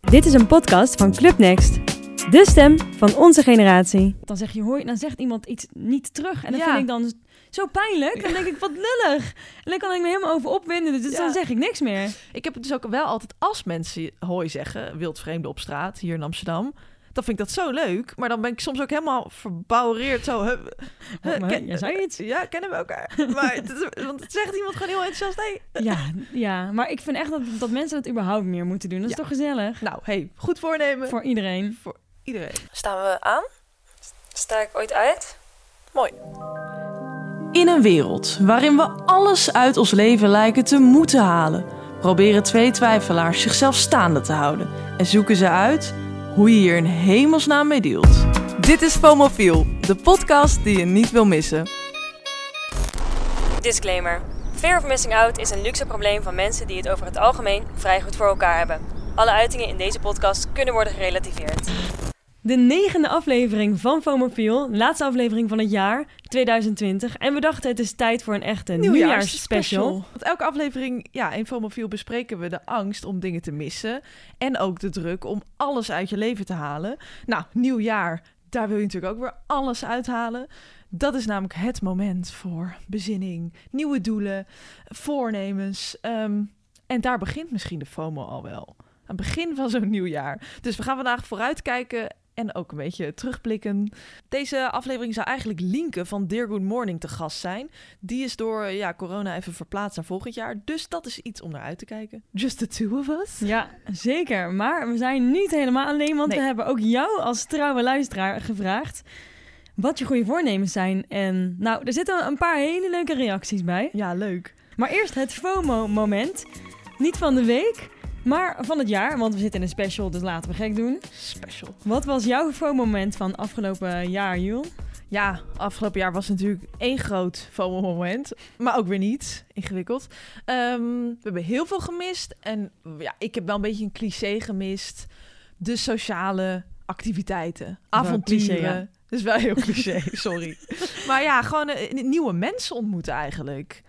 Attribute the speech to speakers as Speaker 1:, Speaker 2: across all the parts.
Speaker 1: Dit is een podcast van Club Next. De stem van onze generatie. Dan zeg je hoi, dan zegt iemand iets niet terug. En dat
Speaker 2: Ja.
Speaker 1: vind ik dan zo pijnlijk. Dan denk ik, wat lullig. En dan kan ik me helemaal over opwinden. Dus
Speaker 2: Ja.
Speaker 1: dan zeg ik niks meer.
Speaker 2: Ik heb het dus ook wel altijd als mensen hooi zeggen, wildvreemden op straat hier in Amsterdam. Dan vind ik dat zo leuk, maar dan ben ik soms ook helemaal verbouwereerd. Zo, huh, huh,
Speaker 1: maar jij zei iets.
Speaker 2: Ja, kennen we elkaar. Maar het is- want het zegt iemand gewoon heel enthousiast. Hey.
Speaker 1: Ja, ja, maar ik vind echt dat, dat mensen dat überhaupt meer moeten doen. Dat is
Speaker 2: Ja.
Speaker 1: toch gezellig?
Speaker 2: Nou, hey, goed voornemen voor
Speaker 1: Voor iedereen.
Speaker 2: iedereen.
Speaker 3: Staan we aan? Sta ik ooit uit?
Speaker 4: In een wereld waarin we alles uit ons leven lijken te moeten halen, proberen twee twijfelaars zichzelf staande te houden en zoeken ze uit hoe je hier in hemelsnaam mee deelt. Dit is FOMOFIEL, de podcast die je niet wil missen.
Speaker 3: Disclaimer. Fear of missing out is een luxe probleem van mensen die het over het algemeen vrij goed voor elkaar hebben. Alle uitingen in deze podcast kunnen worden gerelativeerd.
Speaker 1: De negende aflevering van FOMOPIEL, laatste aflevering van het jaar 2020. En we dachten het is tijd voor een echte nieuwjaarsspecial.
Speaker 2: Want elke aflevering, ja, in Fomofiel bespreken we de angst om dingen te missen. En ook de druk om alles uit je leven te halen. Nou, nieuwjaar, daar wil je natuurlijk ook weer alles uithalen. Dat is namelijk het moment voor bezinning, nieuwe doelen, voornemens. ehm, en daar begint misschien de FOMO al wel. Aan het begin van zo'n nieuw jaar. Dus we gaan vandaag vooruitkijken en ook een beetje terugblikken. Deze aflevering zou eigenlijk Linke van Dear Good Morning te gast zijn. Die is door eh, ja, corona even verplaatst naar volgend jaar. Dus dat is iets om naar uit te kijken. Just the two of us.
Speaker 1: Ja, zeker. Maar we zijn niet helemaal alleen, want
Speaker 2: Nee.
Speaker 1: we hebben ook jou als trouwe luisteraar gevraagd wat je goede voornemens zijn. En nou, er zitten een paar hele leuke reacties bij.
Speaker 2: Ja, leuk.
Speaker 1: Maar eerst het FOMO-moment. Niet van de week, maar van het jaar, want we zitten in een special, dus laten we gek doen.
Speaker 2: Special.
Speaker 1: Wat was jouw FOMO-moment van afgelopen jaar, Jul?
Speaker 2: Ja, afgelopen jaar was natuurlijk één groot FOMO-moment. Maar ook weer niet. Ingewikkeld. Ehm, we hebben heel veel gemist. En ja, ik heb wel een beetje een cliché gemist. De sociale activiteiten.
Speaker 1: Wel een
Speaker 2: Avonturen.
Speaker 1: cliché, ja.
Speaker 2: Dat is wel heel cliché, sorry. maar ja, gewoon eh, nieuwe mensen ontmoeten eigenlijk.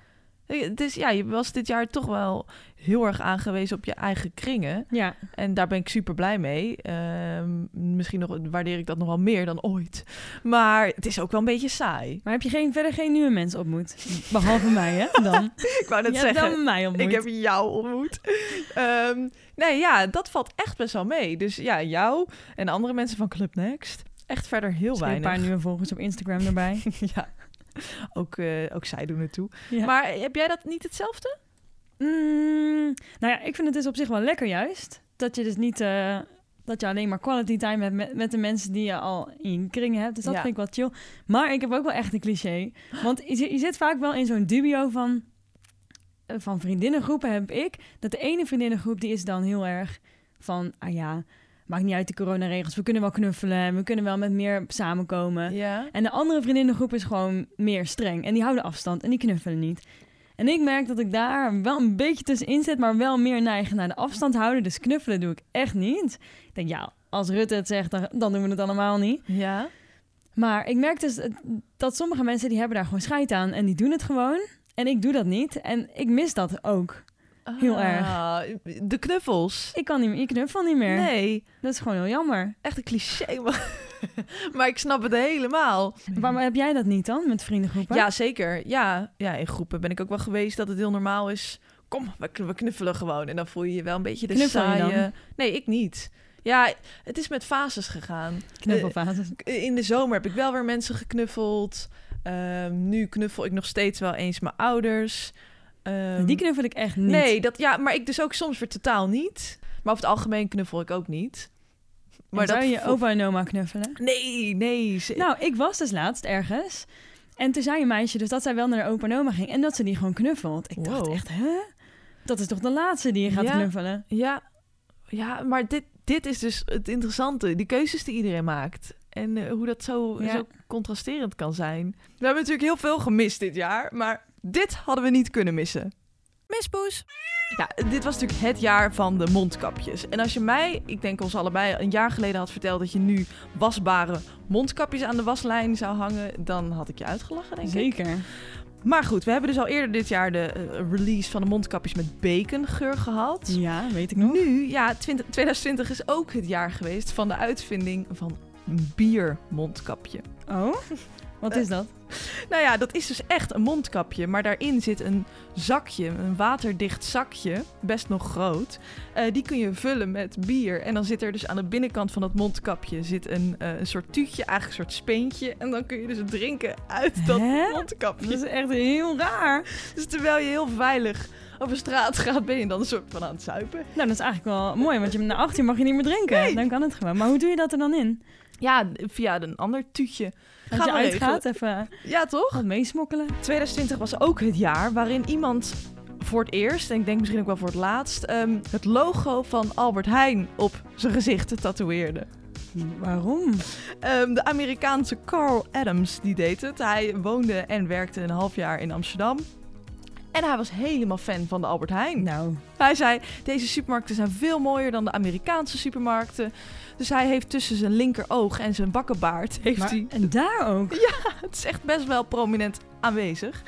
Speaker 2: Eh, Het is, ja, je was dit jaar toch wel heel erg aangewezen op je eigen kringen.
Speaker 1: Ja,
Speaker 2: En daar ben ik super blij mee. Ehm, misschien nog, waardeer ik dat nog wel meer dan ooit. Maar het is ook wel een beetje saai.
Speaker 1: maar heb je geen, verder geen nieuwe mensen ontmoet? Behalve mij, hè? Dan.
Speaker 2: Ik wou net
Speaker 1: je hebt
Speaker 2: zeggen.
Speaker 1: dan mij ontmoet.
Speaker 2: Ik heb jou ontmoet. Ehm, nee, ja, dat valt echt best wel mee. Dus ja, jou en andere mensen van Club Next. Echt verder heel
Speaker 1: Misschien
Speaker 2: weinig.
Speaker 1: een paar nieuwe volgers op Instagram erbij.
Speaker 2: ja. Ook, eh, ook zij doen het toe.
Speaker 1: Ja.
Speaker 2: Maar heb jij dat niet hetzelfde?
Speaker 1: Mm, nou ja, ik vind het dus op zich wel lekker juist. Dat je dus niet... eh, dat je alleen maar quality time hebt met, met de mensen die je al in je kring hebt. Dus dat
Speaker 2: Ja.
Speaker 1: vind ik wel chill. Maar ik heb ook wel echt een cliché. Want je, zit- je zit vaak wel in zo'n dubio van... eh, Van vriendinnengroepen heb ik. Dat de ene vriendinnengroep die is dan heel erg van... Ah ja, maakt niet uit de coronaregels. We kunnen wel knuffelen. en We kunnen wel met meer samenkomen.
Speaker 2: Eh, Ja.
Speaker 1: En de andere vriendinnengroep is gewoon meer streng. En die houden afstand en die knuffelen niet. En ik merk dat ik daar wel een beetje tussenin zit, maar wel meer neigen naar de afstand houden. Dus knuffelen doe ik echt niet. Ik denk, ja, als Rutte het zegt, dan, dan doen we het allemaal niet.
Speaker 2: Ja.
Speaker 1: Maar ik merk dus eh, dat sommige mensen die hebben daar gewoon scheid aan en die doen het gewoon. En ik doe dat niet en ik mis dat ook. Heel
Speaker 2: erg. Ah, De knuffels.
Speaker 1: Ik kan niet meer, ik knuffel niet meer.
Speaker 2: Nee,
Speaker 1: Dat is gewoon heel jammer.
Speaker 2: echt een cliché. Maar, maar ik snap het helemaal.
Speaker 1: Waarom heb jij dat niet dan met vriendengroepen?
Speaker 2: Ja, zeker. Ja. ja, in groepen ben ik ook wel geweest dat het heel normaal is. Kom, we kn- we knuffelen gewoon. En dan voel je je wel een beetje de
Speaker 1: Knuffel je dan?
Speaker 2: saaie... Nee, ik niet. Ja, het is met fases gegaan.
Speaker 1: knuffelfases.
Speaker 2: In de zomer heb ik wel weer mensen geknuffeld. Ehm, nu knuffel ik nog steeds wel eens mijn ouders. Ehm,
Speaker 1: die knuffel ik echt niet.
Speaker 2: Nee, dat, ja, maar ik dus ook soms weer totaal niet. Maar over het algemeen knuffel ik ook niet.
Speaker 1: maar zou je
Speaker 2: voel-
Speaker 1: opa en oma knuffelen?
Speaker 2: Nee, nee. ze-
Speaker 1: Nou, ik was dus laatst ergens. En toen zei een meisje dus dat zij wel naar de opa en oma ging. En dat ze die gewoon knuffelt. Ik dacht
Speaker 2: Wow.
Speaker 1: echt, hè? Dat is toch de laatste die je gaat
Speaker 2: Ja.
Speaker 1: knuffelen?
Speaker 2: Ja, ja maar dit, dit is dus het interessante. De keuzes die iedereen maakt. En eh, hoe dat zo,
Speaker 1: Ja.
Speaker 2: zo contrasterend kan zijn. We hebben natuurlijk heel veel gemist dit jaar. Maar dit hadden we niet kunnen missen. Mispoes! Ja, dit was natuurlijk het jaar van de mondkapjes. En als je mij, ik denk ons allebei, een jaar geleden had verteld dat je nu wasbare mondkapjes aan de waslijn zou hangen, dan had ik je uitgelachen, denk ik.
Speaker 1: Zeker.
Speaker 2: Maar goed, we hebben dus al eerder dit jaar de eh, release van de mondkapjes met bacongeur gehad.
Speaker 1: Ja, weet ik nog.
Speaker 2: Nu, ja, 20, 2020 is ook het jaar geweest van de uitvinding van een biermondkapje.
Speaker 1: Oh, wat is dat?
Speaker 2: Nou ja, dat is dus echt een mondkapje, maar daarin zit een zakje, een waterdicht zakje, best nog groot. Eh, die kun je vullen met bier. En dan zit er dus aan de binnenkant van dat mondkapje zit een, eh, een soort tuutje, eigenlijk een soort speentje. En dan kun je dus drinken uit dat
Speaker 1: Hè?
Speaker 2: mondkapje.
Speaker 1: Dat is echt heel raar.
Speaker 2: Dus terwijl je heel veilig over straat gaat, ben je dan een soort van aan het zuipen.
Speaker 1: Nou, dat is eigenlijk wel mooi, want je, na 18 mag je niet meer drinken.
Speaker 2: Nee.
Speaker 1: Dan kan het gewoon. Maar hoe doe je dat er dan in?
Speaker 2: Ja, via een ander tuutje.
Speaker 1: Als
Speaker 2: Gaan
Speaker 1: je
Speaker 2: we
Speaker 1: uitgaat, even
Speaker 2: regelen. Ja, toch?
Speaker 1: wat meesmokkelen.
Speaker 2: 2020 was ook het jaar waarin iemand voor het eerst, en ik denk misschien ook wel voor het laatst, ehm, het logo van Albert Heijn op zijn gezicht tatoeëerde.
Speaker 1: Waarom?
Speaker 2: Ehm, de Amerikaanse Carl Adams die deed het. Hij woonde en werkte een half jaar in Amsterdam. En hij was helemaal fan van de Albert Heijn.
Speaker 1: Nou,
Speaker 2: Hij zei, deze supermarkten zijn veel mooier dan de Amerikaanse supermarkten. Dus hij heeft tussen zijn linkeroog en zijn bakkenbaard... Heeft
Speaker 1: maar,
Speaker 2: hij
Speaker 1: en daar ook.
Speaker 2: het is echt best wel prominent aanwezig.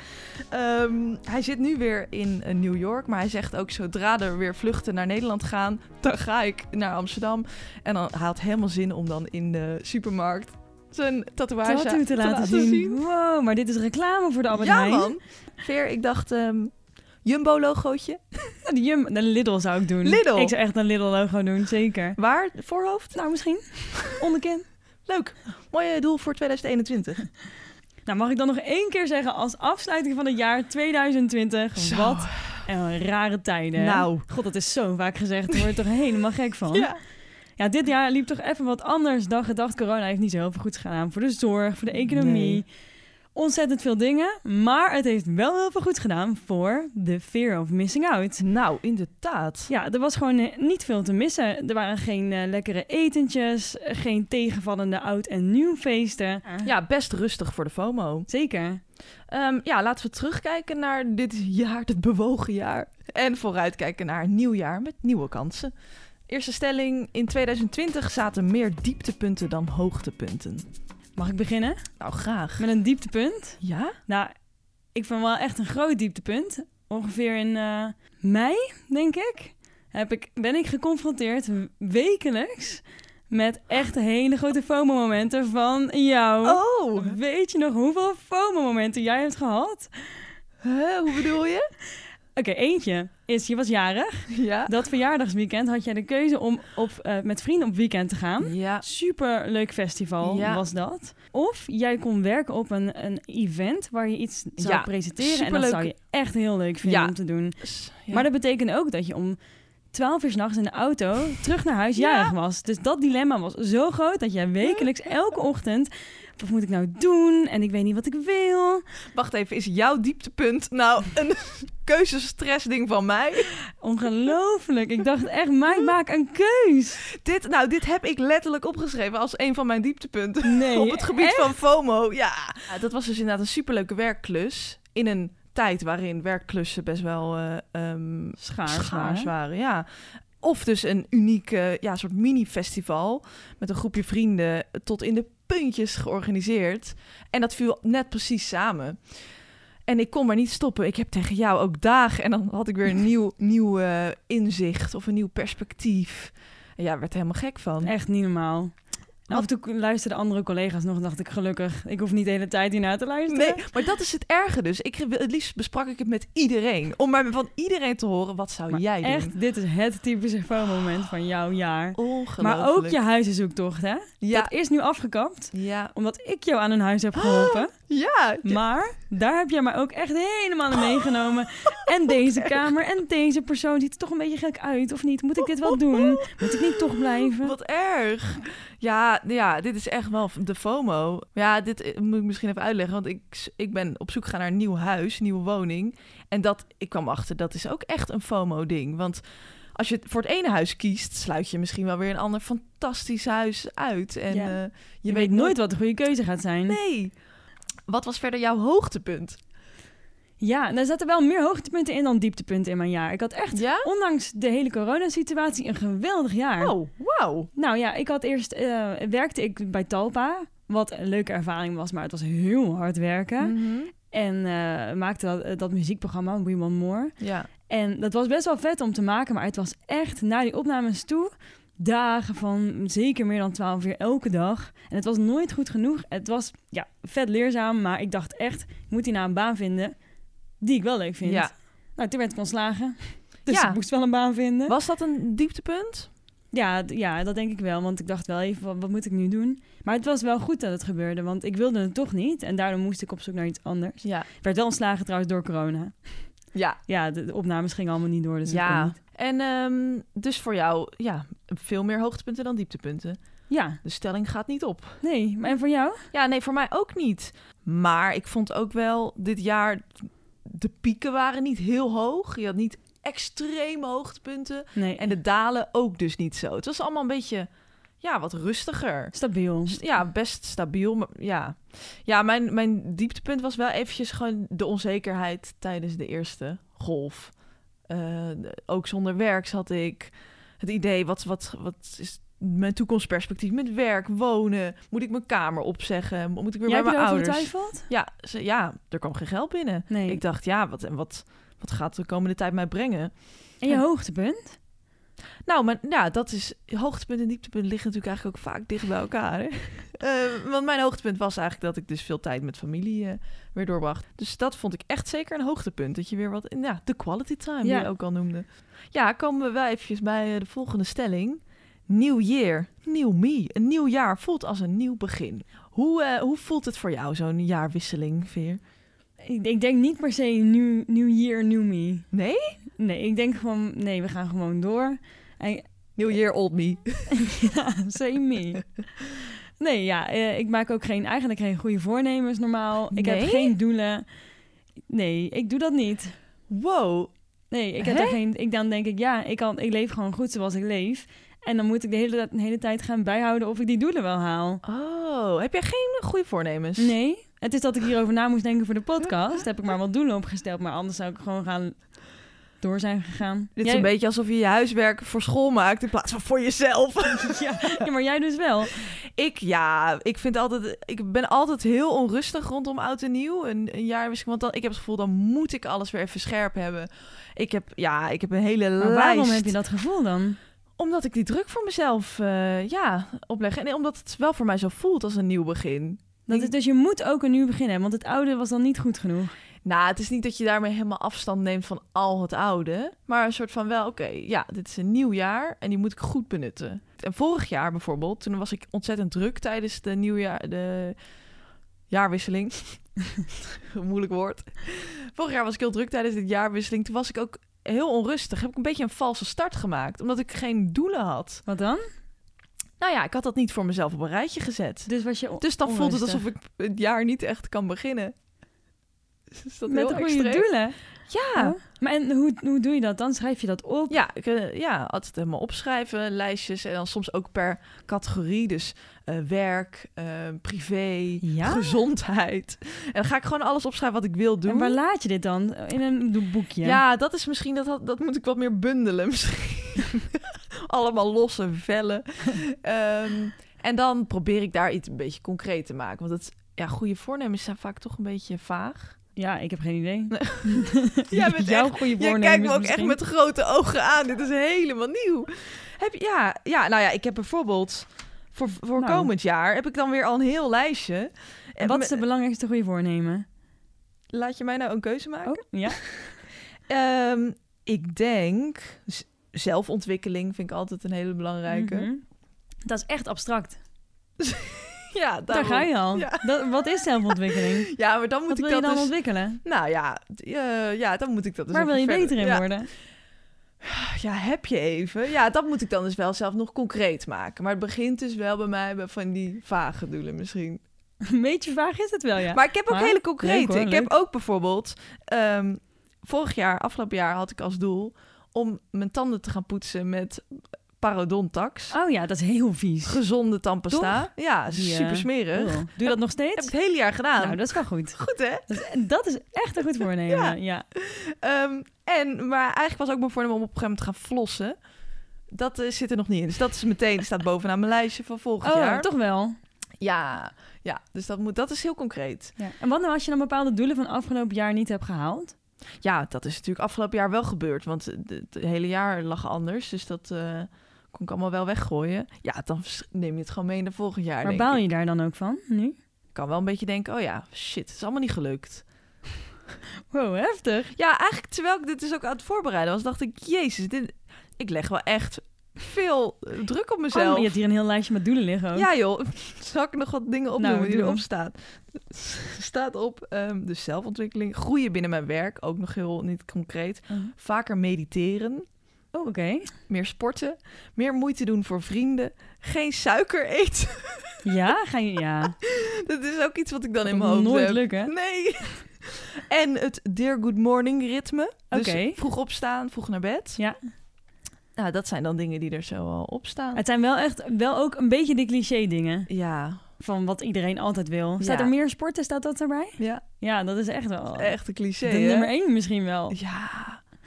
Speaker 2: Ehm, hij zit nu weer in eh, New York, maar hij zegt ook zodra er weer vluchten naar Nederland gaan, dan ga ik naar Amsterdam. En dan hij had helemaal zin om dan in de supermarkt zijn tatoeage
Speaker 1: Tattoo te laten, zien. Oh, Wow, maar dit is reclame voor de Albert
Speaker 2: ja
Speaker 1: Heijn.
Speaker 2: man. Veer, ik dacht ehm, Jumbo-logootje.
Speaker 1: Ja, de Nou, Jum, de Lidl zou ik doen.
Speaker 2: Lidl?
Speaker 1: Ik zou echt een Lidl logo doen, zeker.
Speaker 2: Waar? Voorhoofd?
Speaker 1: Nou, misschien. Onderkin.
Speaker 2: Leuk. Mooi eh, doel voor 2021.
Speaker 1: Nou, mag ik dan nog één keer zeggen als afsluiting van het jaar 2020.
Speaker 2: Zo.
Speaker 1: Wat een rare tijden. hè?
Speaker 2: Nou.
Speaker 1: God, dat is zo vaak gezegd. Daar word je toch helemaal gek van.
Speaker 2: Ja.
Speaker 1: Ja, dit jaar liep toch even wat anders dan gedacht. Corona heeft niet zo heel veel goeds gedaan voor de zorg, voor de economie.
Speaker 4: Nee.
Speaker 1: Ontzettend veel dingen. Maar het heeft wel heel veel goed gedaan voor de fear of missing out.
Speaker 2: Nou, inderdaad.
Speaker 1: Ja, er was gewoon eh, niet veel te missen. Er waren geen eh, lekkere etentjes, eh, geen tegenvallende oud- en nieuwfeesten.
Speaker 2: Ja, best rustig voor de FOMO.
Speaker 1: Zeker.
Speaker 2: Ehm, ja, laten we terugkijken naar dit jaar, het bewogen jaar. En vooruitkijken naar een nieuw jaar met nieuwe kansen. Eerste stelling, in 2020 zaten meer dieptepunten dan hoogtepunten.
Speaker 1: Mag ik beginnen
Speaker 2: Nou, graag.
Speaker 1: met een dieptepunt?
Speaker 2: Ja?
Speaker 1: Nou, ik vond wel echt een groot dieptepunt. Ongeveer in eh, mei, denk ik, heb ik, ben ik geconfronteerd w- wekelijks met echt hele grote FOMO-momenten van jou.
Speaker 2: Oh!
Speaker 1: Weet je nog hoeveel FOMO-momenten jij hebt gehad?
Speaker 2: Hè, hoe bedoel je?
Speaker 1: Oké, eentje is, je was jarig.
Speaker 2: Ja.
Speaker 1: Dat verjaardagsweekend had jij de keuze om op, eh, met vrienden op weekend te gaan.
Speaker 2: Ja.
Speaker 1: Super leuk festival
Speaker 2: Ja.
Speaker 1: was dat. Of jij kon werken op een, een event waar je iets zou
Speaker 2: Ja,
Speaker 1: presenteren. En dat
Speaker 2: superleuk.
Speaker 1: zou je echt heel leuk vinden
Speaker 2: Ja.
Speaker 1: om te doen.
Speaker 2: S- ja.
Speaker 1: Maar dat betekende ook dat je om 12 uur s'nachts in de auto terug naar huis
Speaker 2: Ja.
Speaker 1: jarig was. Dus dat dilemma was zo groot dat jij wekelijks elke ochtend. Wat moet ik nou doen? En ik weet niet wat ik wil.
Speaker 2: Wacht even, is jouw dieptepunt nou een keuzestressding van mij?
Speaker 1: Ongelooflijk. Ik dacht echt, maak, maak een keus.
Speaker 2: Dit, nou, dit heb ik letterlijk opgeschreven als een van mijn dieptepunten.
Speaker 1: Nee,
Speaker 2: op het gebied van FOMO, ja. Dat was dus inderdaad een superleuke werkklus. In een tijd waarin werkklussen best wel eh, ehm,
Speaker 1: schaars.
Speaker 2: schaars
Speaker 1: waren.
Speaker 2: waren. Ja. Of dus een unieke ja, soort mini-festival met een groepje vrienden tot in de puntjes georganiseerd. En dat viel net precies samen. En ik kon maar niet stoppen. Ik heb tegen jou ook dagen. En dan had ik weer een nieuw, nieuw eh, inzicht of een nieuw perspectief. En ja, werd er helemaal gek van.
Speaker 1: Echt niet normaal. En af en toe luisterden andere collega's nog en dacht ik gelukkig, ik hoef niet de hele tijd hiernaar te luisteren.
Speaker 2: Nee, maar dat is het erge dus. Ik, het liefst besprak ik het met iedereen. Om maar van iedereen te horen, wat zou
Speaker 1: Maar
Speaker 2: Oh, jij dus. doen?
Speaker 1: echt, dit is het typische FOMO-moment van jouw jaar.
Speaker 2: Ongelooflijk.
Speaker 1: Maar ook je huizenzoektocht, hè?
Speaker 2: Ja,
Speaker 1: Dat is nu afgekapt,
Speaker 2: ja,
Speaker 1: omdat ik jou aan een huis heb geholpen.
Speaker 2: ja.
Speaker 1: Maar daar heb jij mij ook echt helemaal in meegenomen. En deze
Speaker 2: Oh
Speaker 1: kamer en deze persoon ziet er toch een beetje gek uit, of niet? Moet ik dit wel doen? Moet ik niet toch blijven?
Speaker 2: Wat erg. Ja, ja, dit is echt wel de FOMO. Ja, dit eh, moet ik misschien even uitleggen. Want ik, ik ben op zoek gegaan naar een nieuw huis, nieuwe woning. En dat, ik kwam achter, dat is ook echt een FOMO-ding. Want als je voor het ene huis kiest, sluit je misschien wel weer een ander fantastisch huis uit. En
Speaker 1: Ja.
Speaker 2: eh, je,
Speaker 1: Je weet nooit wat de goede keuze gaat zijn.
Speaker 2: Nee. Wat was verder jouw hoogtepunt?
Speaker 1: Ja, en daar zaten wel meer hoogtepunten in dan dieptepunten in mijn jaar. Ik had echt
Speaker 2: Ja?
Speaker 1: ondanks de hele coronasituatie een geweldig jaar.
Speaker 2: Oh, wauw.
Speaker 1: Nou ja, ik had eerst eh,
Speaker 2: Mm. Mhm.
Speaker 1: werkte ik bij Talpa, wat een leuke ervaring was, maar het was heel hard werken. En eh, maakte dat, dat muziekprogramma We Want More.
Speaker 2: Ja.
Speaker 1: En dat was best wel vet om te maken, maar het was echt na die opnames toe dagen van zeker meer dan 12 uur elke dag. En het was nooit goed genoeg. Het was ja, vet leerzaam, maar ik dacht echt, ik moet hierna een baan vinden die ik wel leuk vind.
Speaker 2: ja.
Speaker 1: Nou, toen werd ik ontslagen. Dus
Speaker 2: Ja.
Speaker 1: ik moest wel een baan vinden.
Speaker 2: Was dat een dieptepunt?
Speaker 1: Ja, d- ja, dat denk ik wel. Want ik dacht wel even, wat, wat moet ik nu doen? Maar het was wel goed dat het gebeurde, want ik wilde het toch niet. En daardoor moest ik op zoek naar iets anders.
Speaker 2: Ja.
Speaker 1: Ik werd wel ontslagen trouwens door corona.
Speaker 2: Ja.
Speaker 1: Ja, de, de opnames gingen allemaal niet door, dus dat kon
Speaker 2: ja.
Speaker 1: niet.
Speaker 2: En ehm, dus voor jou, ja, veel meer hoogtepunten dan dieptepunten.
Speaker 1: Ja,
Speaker 2: De stelling gaat niet op.
Speaker 1: nee. Maar en voor jou?
Speaker 2: Ja, nee, voor mij ook niet. Maar ik vond ook wel dit jaar de pieken waren niet heel hoog. Je had niet extreme hoogtepunten
Speaker 1: Nee.
Speaker 2: en de dalen ook dus niet zo. Het was allemaal een beetje ja, wat rustiger.
Speaker 1: Stabiel.
Speaker 2: S- Ja, best stabiel. Maar ja, ja mijn, mijn dieptepunt was wel eventjes gewoon de onzekerheid tijdens de eerste golf. Eh, de- ook zonder werk zat ik. Het idee, wat, wat, wat is mijn toekomstperspectief met werk, wonen? Moet ik mijn kamer opzeggen? Mo- Moet ik weer
Speaker 1: Jij
Speaker 2: bij
Speaker 1: hebt
Speaker 2: mijn
Speaker 1: erover
Speaker 2: ouders?
Speaker 1: getwijfeld?
Speaker 2: Ja, ze, ja, er kwam geen geld binnen.
Speaker 1: Nee.
Speaker 2: Ik dacht, ja, wat, en wat, wat gaat de komende tijd mij brengen?
Speaker 1: En je hoogtepunt?
Speaker 2: Nou, maar ja, dat is. Hoogtepunt en dieptepunt liggen natuurlijk eigenlijk ook vaak dicht bij elkaar. Hè? Eh, want mijn hoogtepunt was eigenlijk dat ik dus veel tijd met familie eh, weer doorbracht. Dus dat vond ik echt zeker een hoogtepunt. Dat je weer wat. Ja, de quality time, die
Speaker 1: Ja.
Speaker 2: je ook al noemde. Ja, komen we wel eventjes bij eh, de volgende stelling. Nieuw year, nieuw me. Een nieuw jaar voelt als een nieuw begin. Hoe, eh, hoe voelt het voor jou, zo'n jaarwisseling, Veer?
Speaker 1: Ik, ik denk niet per se new, new year, new me.
Speaker 2: Nee?
Speaker 1: Nee, ik denk gewoon, nee, we gaan gewoon door. En
Speaker 2: Nieuw year, old me.
Speaker 1: Ja, same me. Nee, ja, eh, ik maak ook geen, eigenlijk geen goede voornemens normaal. Ik
Speaker 2: Nee?
Speaker 1: heb geen doelen. Nee, ik doe dat niet.
Speaker 2: Wow.
Speaker 1: Nee, ik heb
Speaker 2: Hè?
Speaker 1: er geen. Ik dan denk ik, ja, ik, kan, ik leef gewoon goed zoals ik leef. En dan moet ik de hele, tijd- de hele tijd gaan bijhouden of ik die doelen wel haal.
Speaker 2: Oh, heb jij geen goede voornemens?
Speaker 1: Nee, het is dat ik hierover na moest denken voor de podcast. Heb ik maar wat doelen opgesteld, maar anders zou ik gewoon gaan door zijn gegaan.
Speaker 2: Dit is
Speaker 1: Jij-
Speaker 2: een beetje alsof je je huiswerk voor school maakt in plaats van voor jezelf.
Speaker 1: Ja, maar jij dus wel.
Speaker 2: ik, ja, ik vind altijd, ik ben altijd heel onrustig rondom oud en nieuw. Een, een jaar misschien, want dan, ik heb het gevoel, dan moet ik alles weer even scherp hebben. Ik heb, ja, ik heb een hele
Speaker 1: Maar
Speaker 2: lijst.
Speaker 1: waarom heb je dat gevoel dan?
Speaker 2: Omdat ik die druk voor mezelf, eh, ja, opleg. En omdat het wel voor mij zo voelt als een nieuw begin.
Speaker 1: Dat is, dus je moet ook een nieuw beginnen, want het oude was dan niet goed genoeg.
Speaker 2: Nou, het is niet dat je daarmee helemaal afstand neemt van al het oude. Maar een soort van wel, oké, ja, dit is een nieuw jaar en die moet ik goed benutten. En vorig jaar bijvoorbeeld, toen was ik ontzettend druk tijdens de nieuwjaar, de jaarwisseling. Moeilijk woord. Vorig jaar was ik heel druk tijdens de jaarwisseling. Toen was ik ook heel onrustig. Heb ik een beetje een valse start gemaakt, omdat ik geen doelen had.
Speaker 1: Wat dan?
Speaker 2: Nou ja, ik had dat niet voor mezelf op een rijtje gezet.
Speaker 1: Dus was je on-
Speaker 2: Dus dan voelt het
Speaker 1: onrustig.
Speaker 2: alsof ik het jaar niet echt kan beginnen. Is dat
Speaker 1: met
Speaker 2: heel
Speaker 1: de goede
Speaker 2: extreem?
Speaker 1: doelen.
Speaker 2: Ja,
Speaker 1: Oh. Maar en hoe, hoe doe je dat? Dan schrijf je dat op.
Speaker 2: Ja, ik, eh, ja, altijd helemaal opschrijven, lijstjes. En dan soms ook per categorie. Dus eh, werk, eh, privé,
Speaker 1: Ja?
Speaker 2: gezondheid. En dan ga ik gewoon alles opschrijven wat ik wil doen.
Speaker 1: En waar laat je dit dan? In een do- boekje.
Speaker 2: Ja, dat is misschien, dat, had- dat moet ik wat meer bundelen misschien. Allemaal losse vellen. Ehm, en dan probeer ik daar iets een beetje concreet te maken. Want het, ja, goede voornemens zijn vaak toch een beetje vaag.
Speaker 1: Ja, ik heb geen idee.
Speaker 2: Jij bent
Speaker 1: Jouw
Speaker 2: echt-
Speaker 1: goede
Speaker 2: Je
Speaker 1: voornemens
Speaker 2: kijkt me ook
Speaker 1: misschien.
Speaker 2: echt met grote ogen aan. Dit is helemaal nieuw. Heb je, ja, ja, nou ja, ik heb bijvoorbeeld voor, voor
Speaker 1: Nou.
Speaker 2: komend jaar heb ik dan weer al een heel lijstje.
Speaker 1: En wat is het belangrijkste goede voornemen?
Speaker 2: Laat je mij nou een keuze maken?
Speaker 1: Oh, ja. Oh.
Speaker 2: Ehm, ik denk z- zelfontwikkeling vind ik altijd een hele belangrijke.
Speaker 1: Mhm. Dat is echt abstract.
Speaker 2: Ja,
Speaker 1: Daar ga je al.
Speaker 2: Ja.
Speaker 1: Dat, wat is zelfontwikkeling?
Speaker 2: Ja, maar dan moet
Speaker 1: wat
Speaker 2: ik
Speaker 1: wil je
Speaker 2: dat
Speaker 1: dan
Speaker 2: dus-
Speaker 1: ontwikkelen?
Speaker 2: Nou ja, d- eh, ja, dan moet ik dat dus.
Speaker 1: Waar
Speaker 2: even
Speaker 1: wil je
Speaker 2: verder-
Speaker 1: beter in
Speaker 2: ja.
Speaker 1: worden?
Speaker 2: Ja, heb je even. Ja, dat moet ik dan dus wel zelf nog concreet maken. Maar het begint dus wel bij mij bij van die vage doelen misschien.
Speaker 1: Een beetje vaag is het wel, ja.
Speaker 2: Maar ik heb ook
Speaker 1: Maar-
Speaker 2: hele concrete.
Speaker 1: Leuk hoor,
Speaker 2: ik heb
Speaker 1: leuk.
Speaker 2: ook bijvoorbeeld... ehm, vorig jaar, afgelopen jaar, had ik als doel... om mijn tanden te gaan poetsen met parodontax.
Speaker 1: Oh ja, dat is heel vies.
Speaker 2: Gezonde tandpasta. Ja,
Speaker 1: Die, eh,
Speaker 2: super smerig.
Speaker 1: Oh, Doe je dat nog
Speaker 2: Heb ik
Speaker 1: steeds?
Speaker 2: het hele jaar gedaan.
Speaker 1: Nou, dat is wel goed.
Speaker 2: Goed, hè?
Speaker 1: Dat is, e-, dat is echt een goed voornemen,
Speaker 2: Ja.
Speaker 1: ja.
Speaker 2: Ehm, en, maar eigenlijk was ook mijn voornemen om op een gegeven moment te gaan flossen. Dat eh, zit er nog niet in. Dus dat is meteen, staat bovenaan mijn lijstje van volgend
Speaker 1: Oh,
Speaker 2: jaar.
Speaker 1: toch wel.
Speaker 2: Ja, ja. dus dat, moet, dat is heel concreet.
Speaker 1: Ja. En wat nou als je dan bepaalde doelen van afgelopen jaar niet hebt gehaald?
Speaker 2: Ja, dat is natuurlijk afgelopen jaar wel gebeurd. Want het hele jaar lag anders. Dus dat eh, kon ik allemaal wel weggooien. Ja, dan vers- neem je het gewoon mee naar volgend jaar.
Speaker 1: Maar
Speaker 2: denk
Speaker 1: baal
Speaker 2: ik.
Speaker 1: je daar dan ook van nu?
Speaker 2: Ik kan wel een beetje denken, oh ja, shit, het is allemaal niet gelukt.
Speaker 1: Wow, heftig.
Speaker 2: Ja, eigenlijk terwijl ik dit dus ook aan het voorbereiden was, dacht ik, jezus, dit, ik leg wel echt veel eh, druk op
Speaker 1: Oh,
Speaker 2: mezelf.
Speaker 1: je hebt hier een heel lijstje met doelen liggen ook. Nou,
Speaker 2: Ja joh, zal ik nog wat dingen opnoemen die
Speaker 1: doe.
Speaker 2: erop staan? staat op ehm dus zelfontwikkeling, groeien binnen mijn werk, ook nog heel niet concreet.
Speaker 1: Oh,
Speaker 2: Vaker mediteren,
Speaker 1: Oh, oké.
Speaker 2: meer sporten, meer moeite doen voor vrienden, geen suiker eten.
Speaker 1: Ja, ga je... Ja.
Speaker 2: Dat is ook iets wat ik dan in
Speaker 1: Dat
Speaker 2: mijn hoofd
Speaker 1: nooit
Speaker 2: heb.
Speaker 1: lukken.
Speaker 2: Nee. En het Dear Good Morning ritme. Dus
Speaker 1: Oké.
Speaker 2: vroeg opstaan, vroeg naar bed.
Speaker 1: Ja.
Speaker 2: Nou, dat zijn dan dingen die er zo al op staan.
Speaker 1: Het zijn wel echt wel ook een beetje de cliché dingen.
Speaker 2: Ja,
Speaker 1: Van wat iedereen altijd wil. Staat
Speaker 2: Ja.
Speaker 1: er meer sporten? Staat dat erbij?
Speaker 2: ja.
Speaker 1: Ja, dat is echt wel...
Speaker 2: echt een cliché,
Speaker 1: Oh. de
Speaker 2: hè?
Speaker 1: nummer één misschien wel.
Speaker 2: Ja.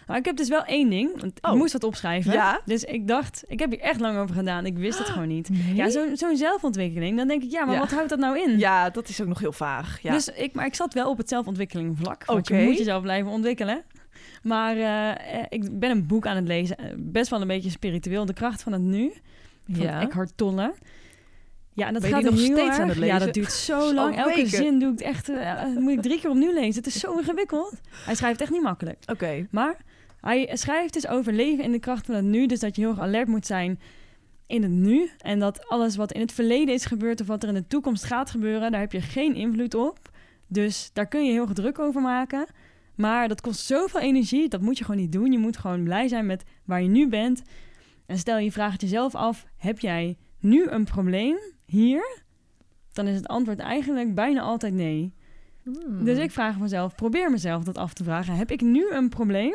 Speaker 1: Maar ik heb dus wel één ding. Want
Speaker 2: Oh.
Speaker 1: Ik moest wat opschrijven.
Speaker 2: Ja.
Speaker 1: Dus ik dacht, ik heb hier echt lang over gedaan. Ik wist het gewoon niet. Ja,
Speaker 2: Ja, zo-
Speaker 1: zo'n zo'n zelfontwikkeling. Dan denk ik, ja, maar
Speaker 2: Ja.
Speaker 1: wat houdt dat nou in?
Speaker 2: ja, dat is ook nog heel vaag. Ja.
Speaker 1: Dus ik, maar ik zat wel op het zelfontwikkeling vlak. Want
Speaker 2: Oké.
Speaker 1: je moet jezelf blijven ontwikkelen. Maar eh, eh, ik ben een boek aan het lezen. eh, Best wel een beetje spiritueel. De kracht van het nu. Van
Speaker 2: Ja.
Speaker 1: Eckhart Tolle. Ja, en dat
Speaker 2: Ben je
Speaker 1: gaat
Speaker 2: die nog
Speaker 1: heel
Speaker 2: steeds
Speaker 1: erg-
Speaker 2: aan het
Speaker 1: Ja,
Speaker 2: lezen?
Speaker 1: dat duurt
Speaker 2: Al
Speaker 1: zo lang. Elke
Speaker 2: weken.
Speaker 1: zin doe ik echt, eh, moet ik drie keer opnieuw lezen. Het is zo ingewikkeld. Hij schrijft echt niet makkelijk.
Speaker 2: Oké.
Speaker 1: Maar hij schrijft dus over leven in de kracht van het nu. Dus dat je heel erg alert moet zijn in het nu. En dat alles wat in het verleden is gebeurd of wat er in de toekomst gaat gebeuren, daar heb je geen invloed op. Dus daar kun je heel erg druk over maken. Maar dat kost zoveel energie, dat moet je gewoon niet doen. Je moet gewoon blij zijn met waar je nu bent. En stel je vraagt jezelf af, heb jij nu een probleem hier? Dan is het antwoord eigenlijk bijna altijd nee.
Speaker 2: Mhm.
Speaker 1: Dus ik vraag mezelf, probeer mezelf dat af te vragen. Heb ik nu een probleem?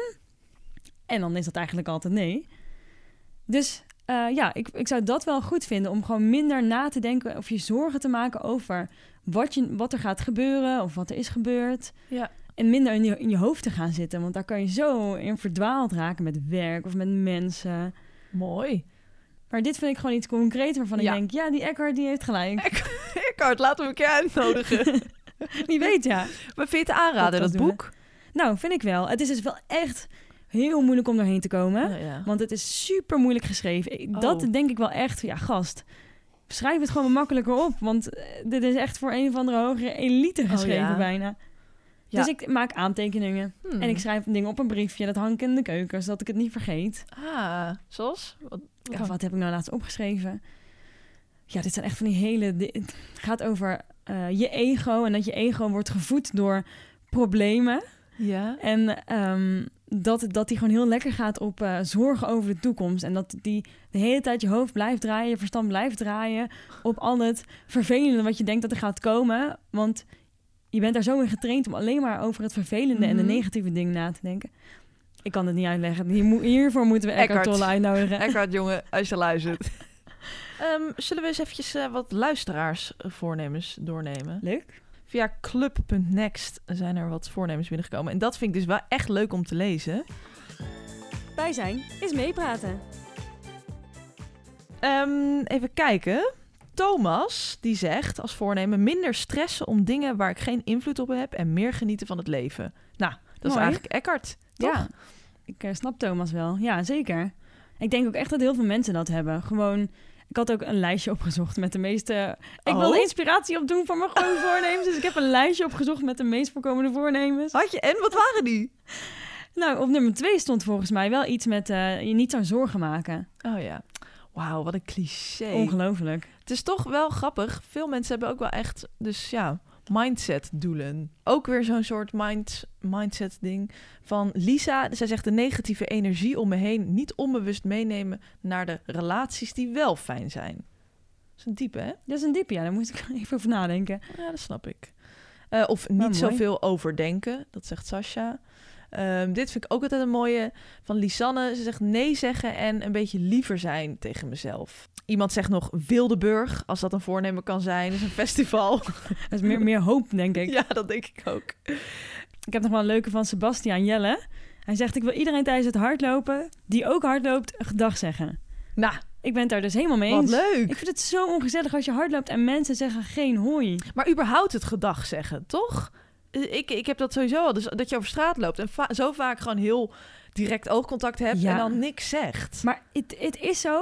Speaker 1: En dan is dat eigenlijk altijd nee. Dus eh, ja, ik, ik zou dat wel goed vinden om gewoon minder na te denken of je zorgen te maken over wat, je, wat er gaat gebeuren of wat er is gebeurd.
Speaker 2: Ja.
Speaker 1: En minder in je, in je hoofd te gaan zitten, want daar kan je zo in verdwaald raken met werk of met mensen.
Speaker 2: Mooi.
Speaker 1: Maar dit vind ik gewoon iets concreets waarvan
Speaker 2: Ja.
Speaker 1: ik denk, ja, die Eckhart die heeft gelijk.
Speaker 2: Eckhart, laten we elkaar uitnodigen.
Speaker 1: Die weet ja.
Speaker 2: maar vind je het aanraden, dat,
Speaker 1: Podcast doen,
Speaker 2: boek?
Speaker 1: Nou, vind ik wel. Het is dus wel echt heel moeilijk om doorheen te komen.
Speaker 2: Nou ja.
Speaker 1: Want het is super moeilijk geschreven. Ik- Dat
Speaker 2: Oh.
Speaker 1: denk ik wel echt. Ja, gast. Schrijf het gewoon makkelijker op. Want eh, dit is echt voor een of andere hogere elite geschreven
Speaker 2: Oh, ja.
Speaker 1: bijna.
Speaker 2: Ja. Mm.
Speaker 1: Dus ik maak aantekeningen.
Speaker 2: Hmm.
Speaker 1: En ik schrijf dingen op een briefje. Dat hang ik in de keuken, zodat ik het niet vergeet.
Speaker 2: Ah, zoals? Wat,
Speaker 1: Ja, wat heb ik nou laatst opgeschreven? Ja, dit zijn echt van die hele... di- Het gaat over eh, je ego. En dat je ego wordt gevoed door problemen.
Speaker 2: Ja.
Speaker 1: En ehm, dat, dat die gewoon heel lekker gaat op eh, zorgen over de toekomst. En dat die de hele tijd je hoofd blijft draaien, je verstand blijft draaien op al het vervelende wat je denkt dat er gaat komen. Want je bent daar zo in getraind om alleen maar over het vervelende en de
Speaker 2: Mhm.
Speaker 1: negatieve dingen na te denken. Ik kan het niet uitleggen. Hier moet- Hiervoor moeten we Eckhart
Speaker 2: Eckhart.
Speaker 1: Tolle uitnodigen.
Speaker 2: Eckhart, jongen, als je luistert. Ehm, zullen we eens eventjes eh, wat luisteraarsvoornemens doornemen?
Speaker 1: Leuk.
Speaker 2: Via club.next zijn er wat voornemens binnengekomen. En dat vind ik dus wel echt leuk om te lezen.
Speaker 1: Bij zijn is meepraten.
Speaker 2: Ehm, even kijken. Thomas, die zegt als voornemen... minder stressen om dingen waar ik geen invloed op heb... en meer genieten van het leven. Nou, dat
Speaker 1: Mooi.
Speaker 2: is eigenlijk Eckhart. Toch?
Speaker 1: Ja, ik eh, snap Thomas wel. Ja, zeker. Ik denk ook echt dat heel veel mensen dat hebben. Gewoon, ik had ook een lijstje opgezocht met de meeste... Ik
Speaker 2: Oh?
Speaker 1: wilde inspiratie opdoen voor mijn goede voornemens. Dus ik heb een lijstje opgezocht met de meest voorkomende voornemens.
Speaker 2: Had je... En wat waren die?
Speaker 1: Nou, op nummer twee stond volgens mij wel iets met eh, je niet zo'n zorgen maken.
Speaker 2: Oh ja. Wauw, wat een cliché.
Speaker 1: Ongelooflijk.
Speaker 2: Het is toch wel grappig. Veel mensen hebben ook wel echt, dus ja, mindset doelen. Ook weer zo'n soort mind, mindset ding van Lisa. Zij zegt de negatieve energie om me heen niet onbewust meenemen naar de relaties die wel fijn zijn. Dat is een diepe, hè?
Speaker 1: Dat is een diepe, ja. Daar moest ik even over nadenken.
Speaker 2: Ja, dat snap ik. Eh, of niet
Speaker 1: Maar mooi.
Speaker 2: zoveel overdenken, dat zegt Sasha. Ehm, dit vind ik ook altijd een mooie van Lisanne. Ze zegt nee zeggen en een beetje liever zijn tegen mezelf. Iemand zegt nog Wildeburg, als dat een voornemen kan zijn. is een festival.
Speaker 1: Dat is meer, meer hoop, denk ik.
Speaker 2: ja, dat denk ik ook.
Speaker 1: Ik heb nog wel een leuke van Sebastian Jelle. Hij zegt, ik wil iedereen tijdens het hardlopen, die ook hardloopt, een gedag zeggen.
Speaker 2: Nou,
Speaker 1: Ik ben het daar dus helemaal mee
Speaker 2: wat
Speaker 1: eens.
Speaker 2: leuk.
Speaker 1: Ik vind het zo ongezellig als je hardloopt en mensen zeggen geen hoi.
Speaker 2: Maar überhaupt het gedag zeggen, toch? Eh, Ik, ik heb dat sowieso al. Dus dat je over straat loopt en va- zo vaak gewoon heel direct oogcontact hebt
Speaker 1: Ja.
Speaker 2: en dan niks zegt.
Speaker 1: Maar het, het is zo.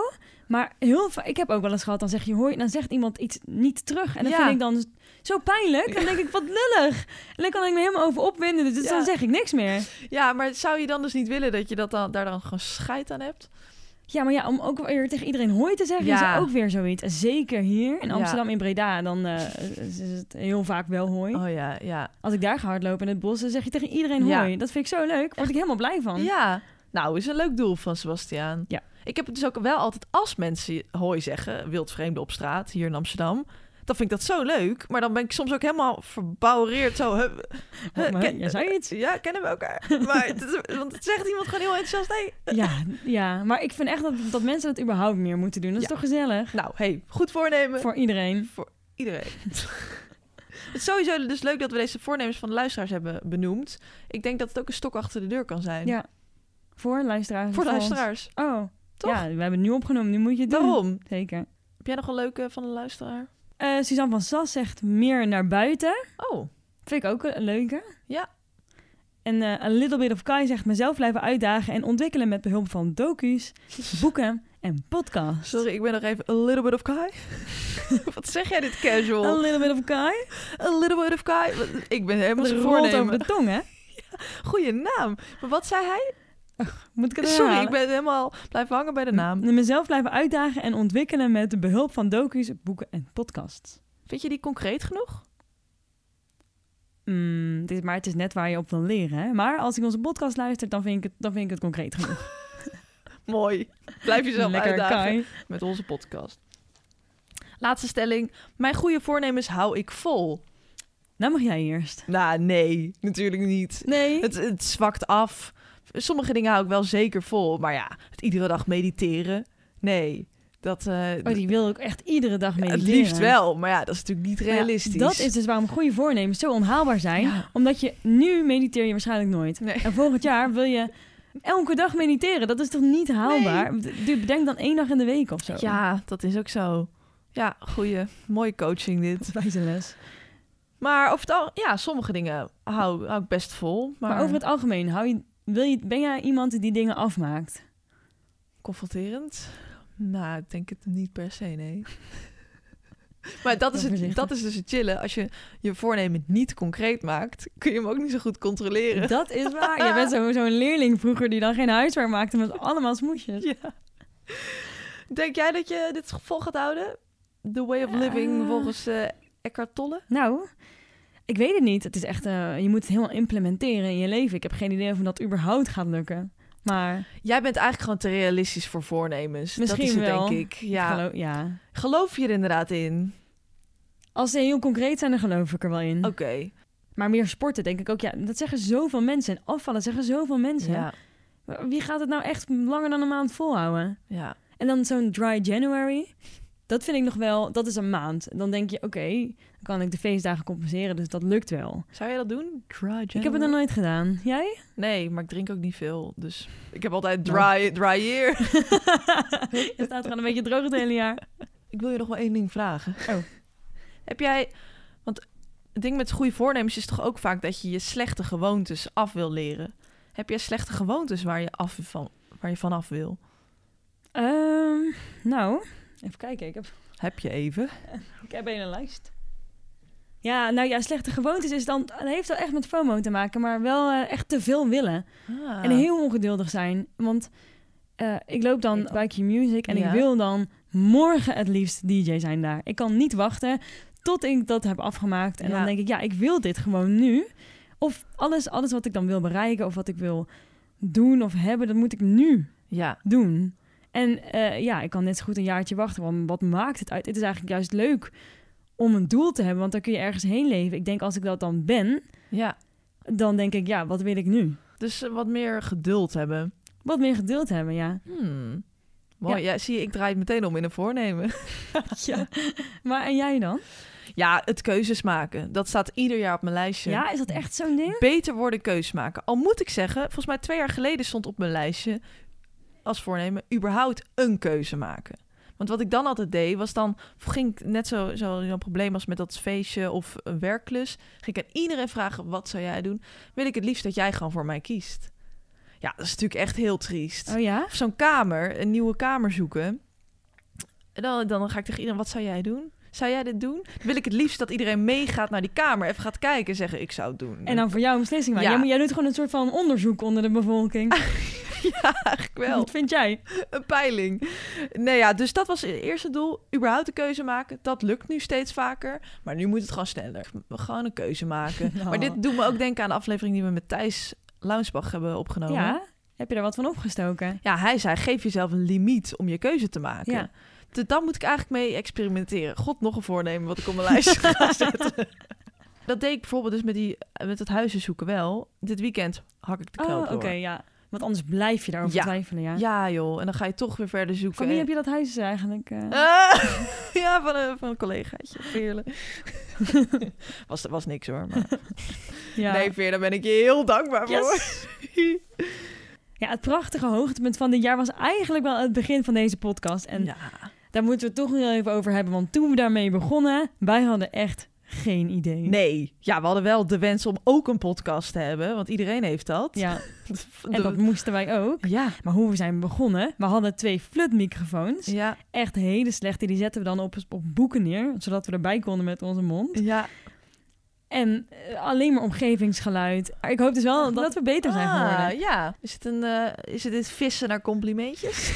Speaker 1: Maar heel va- ik heb ook wel eens gehad, dan zeg je hoi, en dan zegt iemand iets niet terug. En dat
Speaker 2: Ja.
Speaker 1: vind ik dan zo pijnlijk. En dan denk ik, wat lullig. En dan kan ik me helemaal over opwinden, dus
Speaker 2: Ja.
Speaker 1: dan zeg ik niks meer.
Speaker 2: Ja, maar zou je dan dus niet willen dat je dat dan, daar dan gewoon scheid aan hebt?
Speaker 1: Ja, maar ja, om ook weer tegen iedereen hoi te zeggen,
Speaker 2: Ja.
Speaker 1: is ook weer zoiets. En zeker hier in
Speaker 2: Ja.
Speaker 1: Amsterdam, in Breda, dan eh, is het heel vaak wel hoi.
Speaker 2: Oh ja, ja.
Speaker 1: Als ik daar ga hardlopen in het bos, dan zeg je tegen iedereen
Speaker 2: Ja.
Speaker 1: hoi. Dat vind ik zo leuk. Word ik helemaal blij van.
Speaker 2: Ja, nou is een leuk doel van Sebastiaan.
Speaker 1: Ja.
Speaker 2: Ik heb het dus ook wel altijd als mensen hoi zeggen, wildvreemden op straat hier in Amsterdam. Dan vind ik dat zo leuk, maar dan ben ik soms ook helemaal verbouwereerd. Zo, huh, huh,
Speaker 1: Oh, maar
Speaker 2: ken-
Speaker 1: jij zei iets.
Speaker 2: ja, kennen we elkaar? Maar het, want het zegt iemand gewoon heel enthousiast. Hey.
Speaker 1: Ja, ja, maar ik vind echt dat, dat mensen dat überhaupt meer moeten doen. Dat is
Speaker 2: Ja.
Speaker 1: toch gezellig?
Speaker 2: Nou, hey, goed voornemen.
Speaker 1: Voor iedereen.
Speaker 2: iedereen. het is sowieso dus leuk dat we deze voornemens van de luisteraars hebben benoemd. Ik denk dat het ook een stok achter de deur kan zijn.
Speaker 1: Ja. Voor luisteraars.
Speaker 2: voor de
Speaker 1: ons.
Speaker 2: luisteraars.
Speaker 1: Oh,
Speaker 2: Toch?
Speaker 1: toch? Ja, we hebben het nu opgenomen. Nu moet je het doen.
Speaker 2: Daarom.
Speaker 1: Zeker.
Speaker 2: Heb jij nog een leuke van de luisteraar?
Speaker 1: Eh, Suzanne van Sas zegt meer naar buiten.
Speaker 2: Oh,
Speaker 1: Vind ik ook een leuke.
Speaker 2: Ja.
Speaker 1: En eh, A Little Bit of Kai zegt mezelf blijven uitdagen en ontwikkelen met behulp van docu's, boeken en podcasts.
Speaker 2: sorry, ik ben nog even a little bit of Kai. Wat zeg jij dit
Speaker 1: A
Speaker 2: casual?
Speaker 1: Little Bit of Kai.
Speaker 2: A little bit of Kai. Wat- Ik ben helemaal
Speaker 1: Dat
Speaker 2: zijn
Speaker 1: rolt over
Speaker 2: voornemen.
Speaker 1: de tong, hè?
Speaker 2: Goeie naam. Maar wat zei hij?
Speaker 1: Moet ik het
Speaker 2: Sorry,
Speaker 1: herhalen?
Speaker 2: ik ben helemaal blijven hangen bij de naam.
Speaker 1: Mezelf blijven uitdagen en ontwikkelen met behulp van docu's, boeken en podcasts.
Speaker 2: Vind je die concreet genoeg?
Speaker 1: Mm, dit, maar het is net waar je op wil leren. Hè? Maar als ik onze podcast luister, dan vind ik het, dan vind ik het concreet genoeg.
Speaker 2: Mooi. Blijf jezelf
Speaker 1: Lekker
Speaker 2: uitdagen.
Speaker 1: Kai.
Speaker 2: met onze podcast. Laatste stelling. Mijn goede voornemens hou ik vol.
Speaker 1: Nou mag jij eerst.
Speaker 2: Nou, nee, natuurlijk niet.
Speaker 1: Nee.
Speaker 2: Het, het zwakt af. Sommige dingen hou ik wel zeker vol. Maar ja, het iedere dag mediteren. Nee, dat eh,
Speaker 1: Oh, die wil ik echt iedere dag mee.
Speaker 2: het liefst wel. Maar ja, dat is natuurlijk niet realistisch.
Speaker 1: dat is dus waarom goede voornemens zo onhaalbaar zijn.
Speaker 2: Ja.
Speaker 1: Omdat je nu mediteer je waarschijnlijk nooit.
Speaker 2: Nee.
Speaker 1: En volgend jaar wil je elke dag mediteren. Dat is toch niet haalbaar? Du- Bedenk dan één dag in de week of zo.
Speaker 2: Ja, dat is ook zo. Ja, goede, mooie coaching dit.
Speaker 1: Wijze les.
Speaker 2: Maar over het al, ja, sommige dingen hou, hou ik best vol. Maar,
Speaker 1: Maar, over het algemeen, hou je, wil je, ben jij iemand die dingen afmaakt?
Speaker 2: Confronterend? Nou, ik denk het niet per se, nee. maar dat is, het,
Speaker 1: Voorzichtig.
Speaker 2: dat is dus het chillen. Als je je voornemen niet concreet maakt, kun je hem ook niet zo goed controleren.
Speaker 1: Dat is waar. Jij bent zo- zo'n leerling vroeger die dan geen huiswerk maakte met allemaal smoesjes.
Speaker 2: Ja. Denk jij dat je dit vol gaat houden? The way of living
Speaker 1: Eh.
Speaker 2: volgens eh Eckhart Tolle?
Speaker 1: Nou, ik weet het niet. Het is echt, eh, je moet het helemaal implementeren in je leven. Ik heb geen idee of me dat überhaupt gaat lukken. Maar
Speaker 2: Jij bent eigenlijk gewoon te realistisch voor voornemens.
Speaker 1: Misschien
Speaker 2: dat is het,
Speaker 1: wel.
Speaker 2: denk ik. Ja. Geloof...
Speaker 1: gelo- ja.
Speaker 2: je er inderdaad in?
Speaker 1: Als ze heel concreet zijn, dan geloof ik er wel in.
Speaker 2: Oké.
Speaker 1: Maar meer sporten, denk ik ook. Ja, dat zeggen zoveel mensen. En afvallen zeggen zoveel mensen.
Speaker 2: Ja.
Speaker 1: Wie gaat het nou echt langer dan een maand volhouden?
Speaker 2: ja.
Speaker 1: En dan zo'n dry January. Dat vind ik nog wel, dat is een maand. En Dan denk je, oké, dan kan ik de feestdagen compenseren. Dus dat lukt wel.
Speaker 2: Zou jij dat doen? Dry
Speaker 1: Ik heb het
Speaker 2: January?
Speaker 1: nog nooit gedaan. Jij?
Speaker 2: Nee, maar ik drink ook niet veel. Dus ik heb altijd
Speaker 1: Nou.
Speaker 2: dry, dry year.
Speaker 1: Je staat gewoon een beetje droog het hele jaar.
Speaker 2: Ik wil je nog wel één ding vragen.
Speaker 1: Oh.
Speaker 2: Heb jij... Want het ding met goede voornemens is toch ook vaak dat je je slechte gewoontes af wil leren. Heb jij slechte gewoontes waar je, af van, waar je vanaf wil?
Speaker 1: Ehm, nou, even kijken. Ik heb,
Speaker 2: Heb je even?
Speaker 1: ik heb een lijst. Ja, nou ja, slechte gewoontes is dan, dat heeft wel echt met FOMO te maken, maar wel eh, echt te veel willen.
Speaker 2: Ah. Oh.
Speaker 1: En heel ongeduldig zijn. Want eh, ik loop dan
Speaker 2: Ik-
Speaker 1: bij Q Music en
Speaker 2: Ja.
Speaker 1: ik wil dan morgen het liefst DJ zijn daar. Ik kan niet wachten tot ik dat heb afgemaakt. En
Speaker 2: Ja.
Speaker 1: dan denk ik, ja, ik wil dit gewoon nu. Of alles, alles wat ik dan wil bereiken of wat ik wil doen of hebben, dat moet ik nu
Speaker 2: Ja,
Speaker 1: doen. En eh, ja, ik kan net zo goed een jaartje wachten. Want wat maakt het uit? Het is eigenlijk juist leuk om een doel te hebben, want dan kun je ergens heen leven. Ik denk, als ik dat dan ben,
Speaker 2: ja.
Speaker 1: dan denk ik, ja, wat wil ik nu?
Speaker 2: Dus eh, wat meer geduld hebben.
Speaker 1: Wat meer geduld hebben, ja.
Speaker 2: Hmm. Mooi. Ja. zie je, ik draai het meteen om in een voornemen.
Speaker 1: ja. Maar en jij dan?
Speaker 2: Ja, het keuzes maken. Dat staat ieder jaar op mijn lijstje.
Speaker 1: Ja, is dat echt zo'n ding?
Speaker 2: beter worden keus maken. Al moet ik zeggen, volgens mij twee jaar geleden stond op mijn lijstje als voornemen überhaupt een keuze maken. Want wat ik dan altijd deed, was dan ging ik net zo, zo zo'n probleem als met dat feestje of een werkklus. Ging ik aan iedereen vragen: wat zou jij doen? Wil ik het liefst dat jij gewoon voor mij kiest? Ja, dat is natuurlijk echt heel triest.
Speaker 1: Oh ja?
Speaker 2: Of zo'n kamer, een nieuwe kamer zoeken. En Dan, dan ga ik tegen iedereen: wat zou jij doen? Zou jij dit doen? Wil ik het liefst dat iedereen meegaat naar die kamer, even gaat kijken en zeggen: ik zou het doen.
Speaker 1: En dan voor jou een beslissing
Speaker 2: Ja.
Speaker 1: maken. Jij, moet- jij doet gewoon een soort van onderzoek onder de bevolking.
Speaker 2: ja, eigenlijk wel.
Speaker 1: Wat vind jij?
Speaker 2: een peiling. Nee, ja, dus dat was het eerste doel. Überhaupt de keuze maken. Dat lukt nu steeds vaker. Maar nu moet het gewoon sneller. Gewoon een keuze maken.
Speaker 1: Nou.
Speaker 2: Maar dit doet me ook denken aan de aflevering die we met Thijs Launsbach hebben opgenomen.
Speaker 1: Ja? Heb je daar wat van opgestoken?
Speaker 2: Ja, hij zei, geef jezelf een limiet om je keuze te maken.
Speaker 1: Ja.
Speaker 2: Dus daar moet ik eigenlijk mee experimenteren. God, nog een voornemen wat ik op mijn lijst ga zetten. Dat deed ik bijvoorbeeld dus met, die, met het huizen zoeken wel. Dit weekend hak ik de
Speaker 1: Oh,
Speaker 2: knoop
Speaker 1: oké,
Speaker 2: door.
Speaker 1: ja. Want anders blijf je daarover
Speaker 2: Ja.
Speaker 1: twijfelen, ja.
Speaker 2: Ja joh, en dan ga je toch weer verder zoeken.
Speaker 1: Van wie heb je dat huis eigenlijk? eh?
Speaker 2: Ah, ja, van een, van een collegaatje. Veerle. was, was niks hoor. Maar...
Speaker 1: ja.
Speaker 2: Nee, Veer, daar ben ik je heel dankbaar voor.
Speaker 1: Yes. ja, het prachtige hoogtepunt van dit jaar was eigenlijk wel het begin van deze podcast. En
Speaker 2: Ja.
Speaker 1: daar moeten we het toch nog heel even over hebben. Want toen we daarmee begonnen, wij hadden echt geen idee.
Speaker 2: Nee. Ja, we hadden wel de wens om ook een podcast te hebben, want iedereen heeft dat.
Speaker 1: Ja,
Speaker 2: De-
Speaker 1: en dat moesten wij ook.
Speaker 2: ja.
Speaker 1: Maar hoe we zijn begonnen, we hadden twee flutmicrofoons.
Speaker 2: Ja,
Speaker 1: Echt hele slechte. Die zetten we dan op, op boeken neer, zodat we erbij konden met onze mond.
Speaker 2: ja.
Speaker 1: En eh, alleen maar omgevingsgeluid. Maar Ik hoop dus wel dat we beter zijn geworden.
Speaker 2: Ah, ja. Is het, een, eh, is het dit vissen naar complimentjes?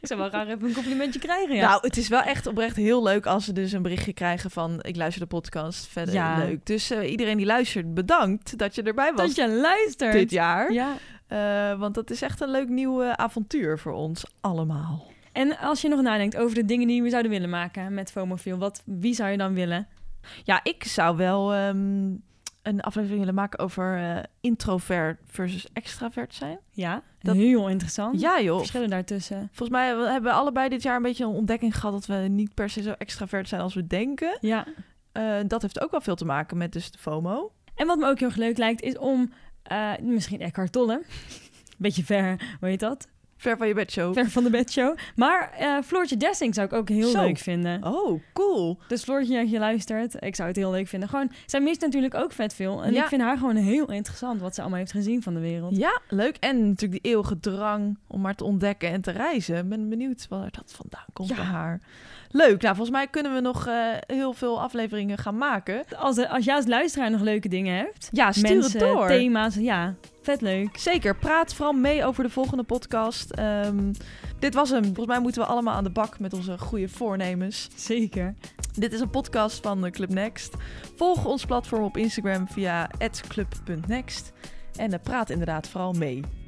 Speaker 1: Ik zou wel graag even een complimentje krijgen, ja.
Speaker 2: Nou, het is wel echt oprecht heel leuk als ze dus een berichtje krijgen van... ik luister de podcast, verder
Speaker 1: Ja.
Speaker 2: leuk. Dus eh, iedereen die luistert, bedankt dat je erbij was
Speaker 1: dat je luistert.
Speaker 2: dit jaar.
Speaker 1: Ja.
Speaker 2: Eh, want dat is echt een leuk nieuw eh, avontuur voor ons allemaal.
Speaker 1: En als je nog nadenkt over de dingen die we zouden willen maken met FOMOFIL, wat, wie zou je dan willen?
Speaker 2: Ja, ik zou wel ehm, een aflevering willen maken over eh, introvert versus extravert zijn.
Speaker 1: Ja,
Speaker 2: Dat-
Speaker 1: heel interessant.
Speaker 2: Ja joh.
Speaker 1: Verschillen daartussen.
Speaker 2: Volgens mij hebben we allebei dit jaar een beetje een ontdekking gehad dat we niet per se zo extravert zijn als we denken.
Speaker 1: Ja.
Speaker 2: Eh, dat heeft ook wel veel te maken met dus de FOMO.
Speaker 1: En wat me ook heel erg leuk lijkt, is om eh, misschien Eckhart Tolle. Beetje ver, hoe heet dat?
Speaker 2: Ver van je bed show.
Speaker 1: Ver van de bedshow. Maar eh, Floortje Dessing zou ik ook heel
Speaker 2: Zo.
Speaker 1: leuk vinden.
Speaker 2: Oh, cool.
Speaker 1: Dus Floortje, als je luistert, ik zou het heel leuk vinden. Gewoon, zij mist natuurlijk ook vet veel. En
Speaker 2: Ja.
Speaker 1: ik vind haar gewoon heel interessant wat ze allemaal heeft gezien van de wereld.
Speaker 2: Ja, leuk. En natuurlijk die eeuwige drang om maar te ontdekken en te reizen. Ik ben benieuwd waar dat vandaan komt
Speaker 1: Ja.
Speaker 2: bij haar. Leuk. Nou, volgens mij kunnen we nog eh, heel veel afleveringen gaan maken.
Speaker 1: Als, eh, als jij als luisteraar nog leuke dingen hebt,
Speaker 2: Ja, stuur
Speaker 1: mensen,
Speaker 2: het door.
Speaker 1: thema's, ja, vet leuk.
Speaker 2: Zeker. Praat vooral mee over de volgende podcast. Ehm, dit was hem. Volgens mij moeten we allemaal aan de bak met onze goede voornemens.
Speaker 1: Zeker.
Speaker 2: Dit is een podcast van eh, Club Next. Volg ons platform op Instagram via @club.next. En eh, praat inderdaad vooral mee.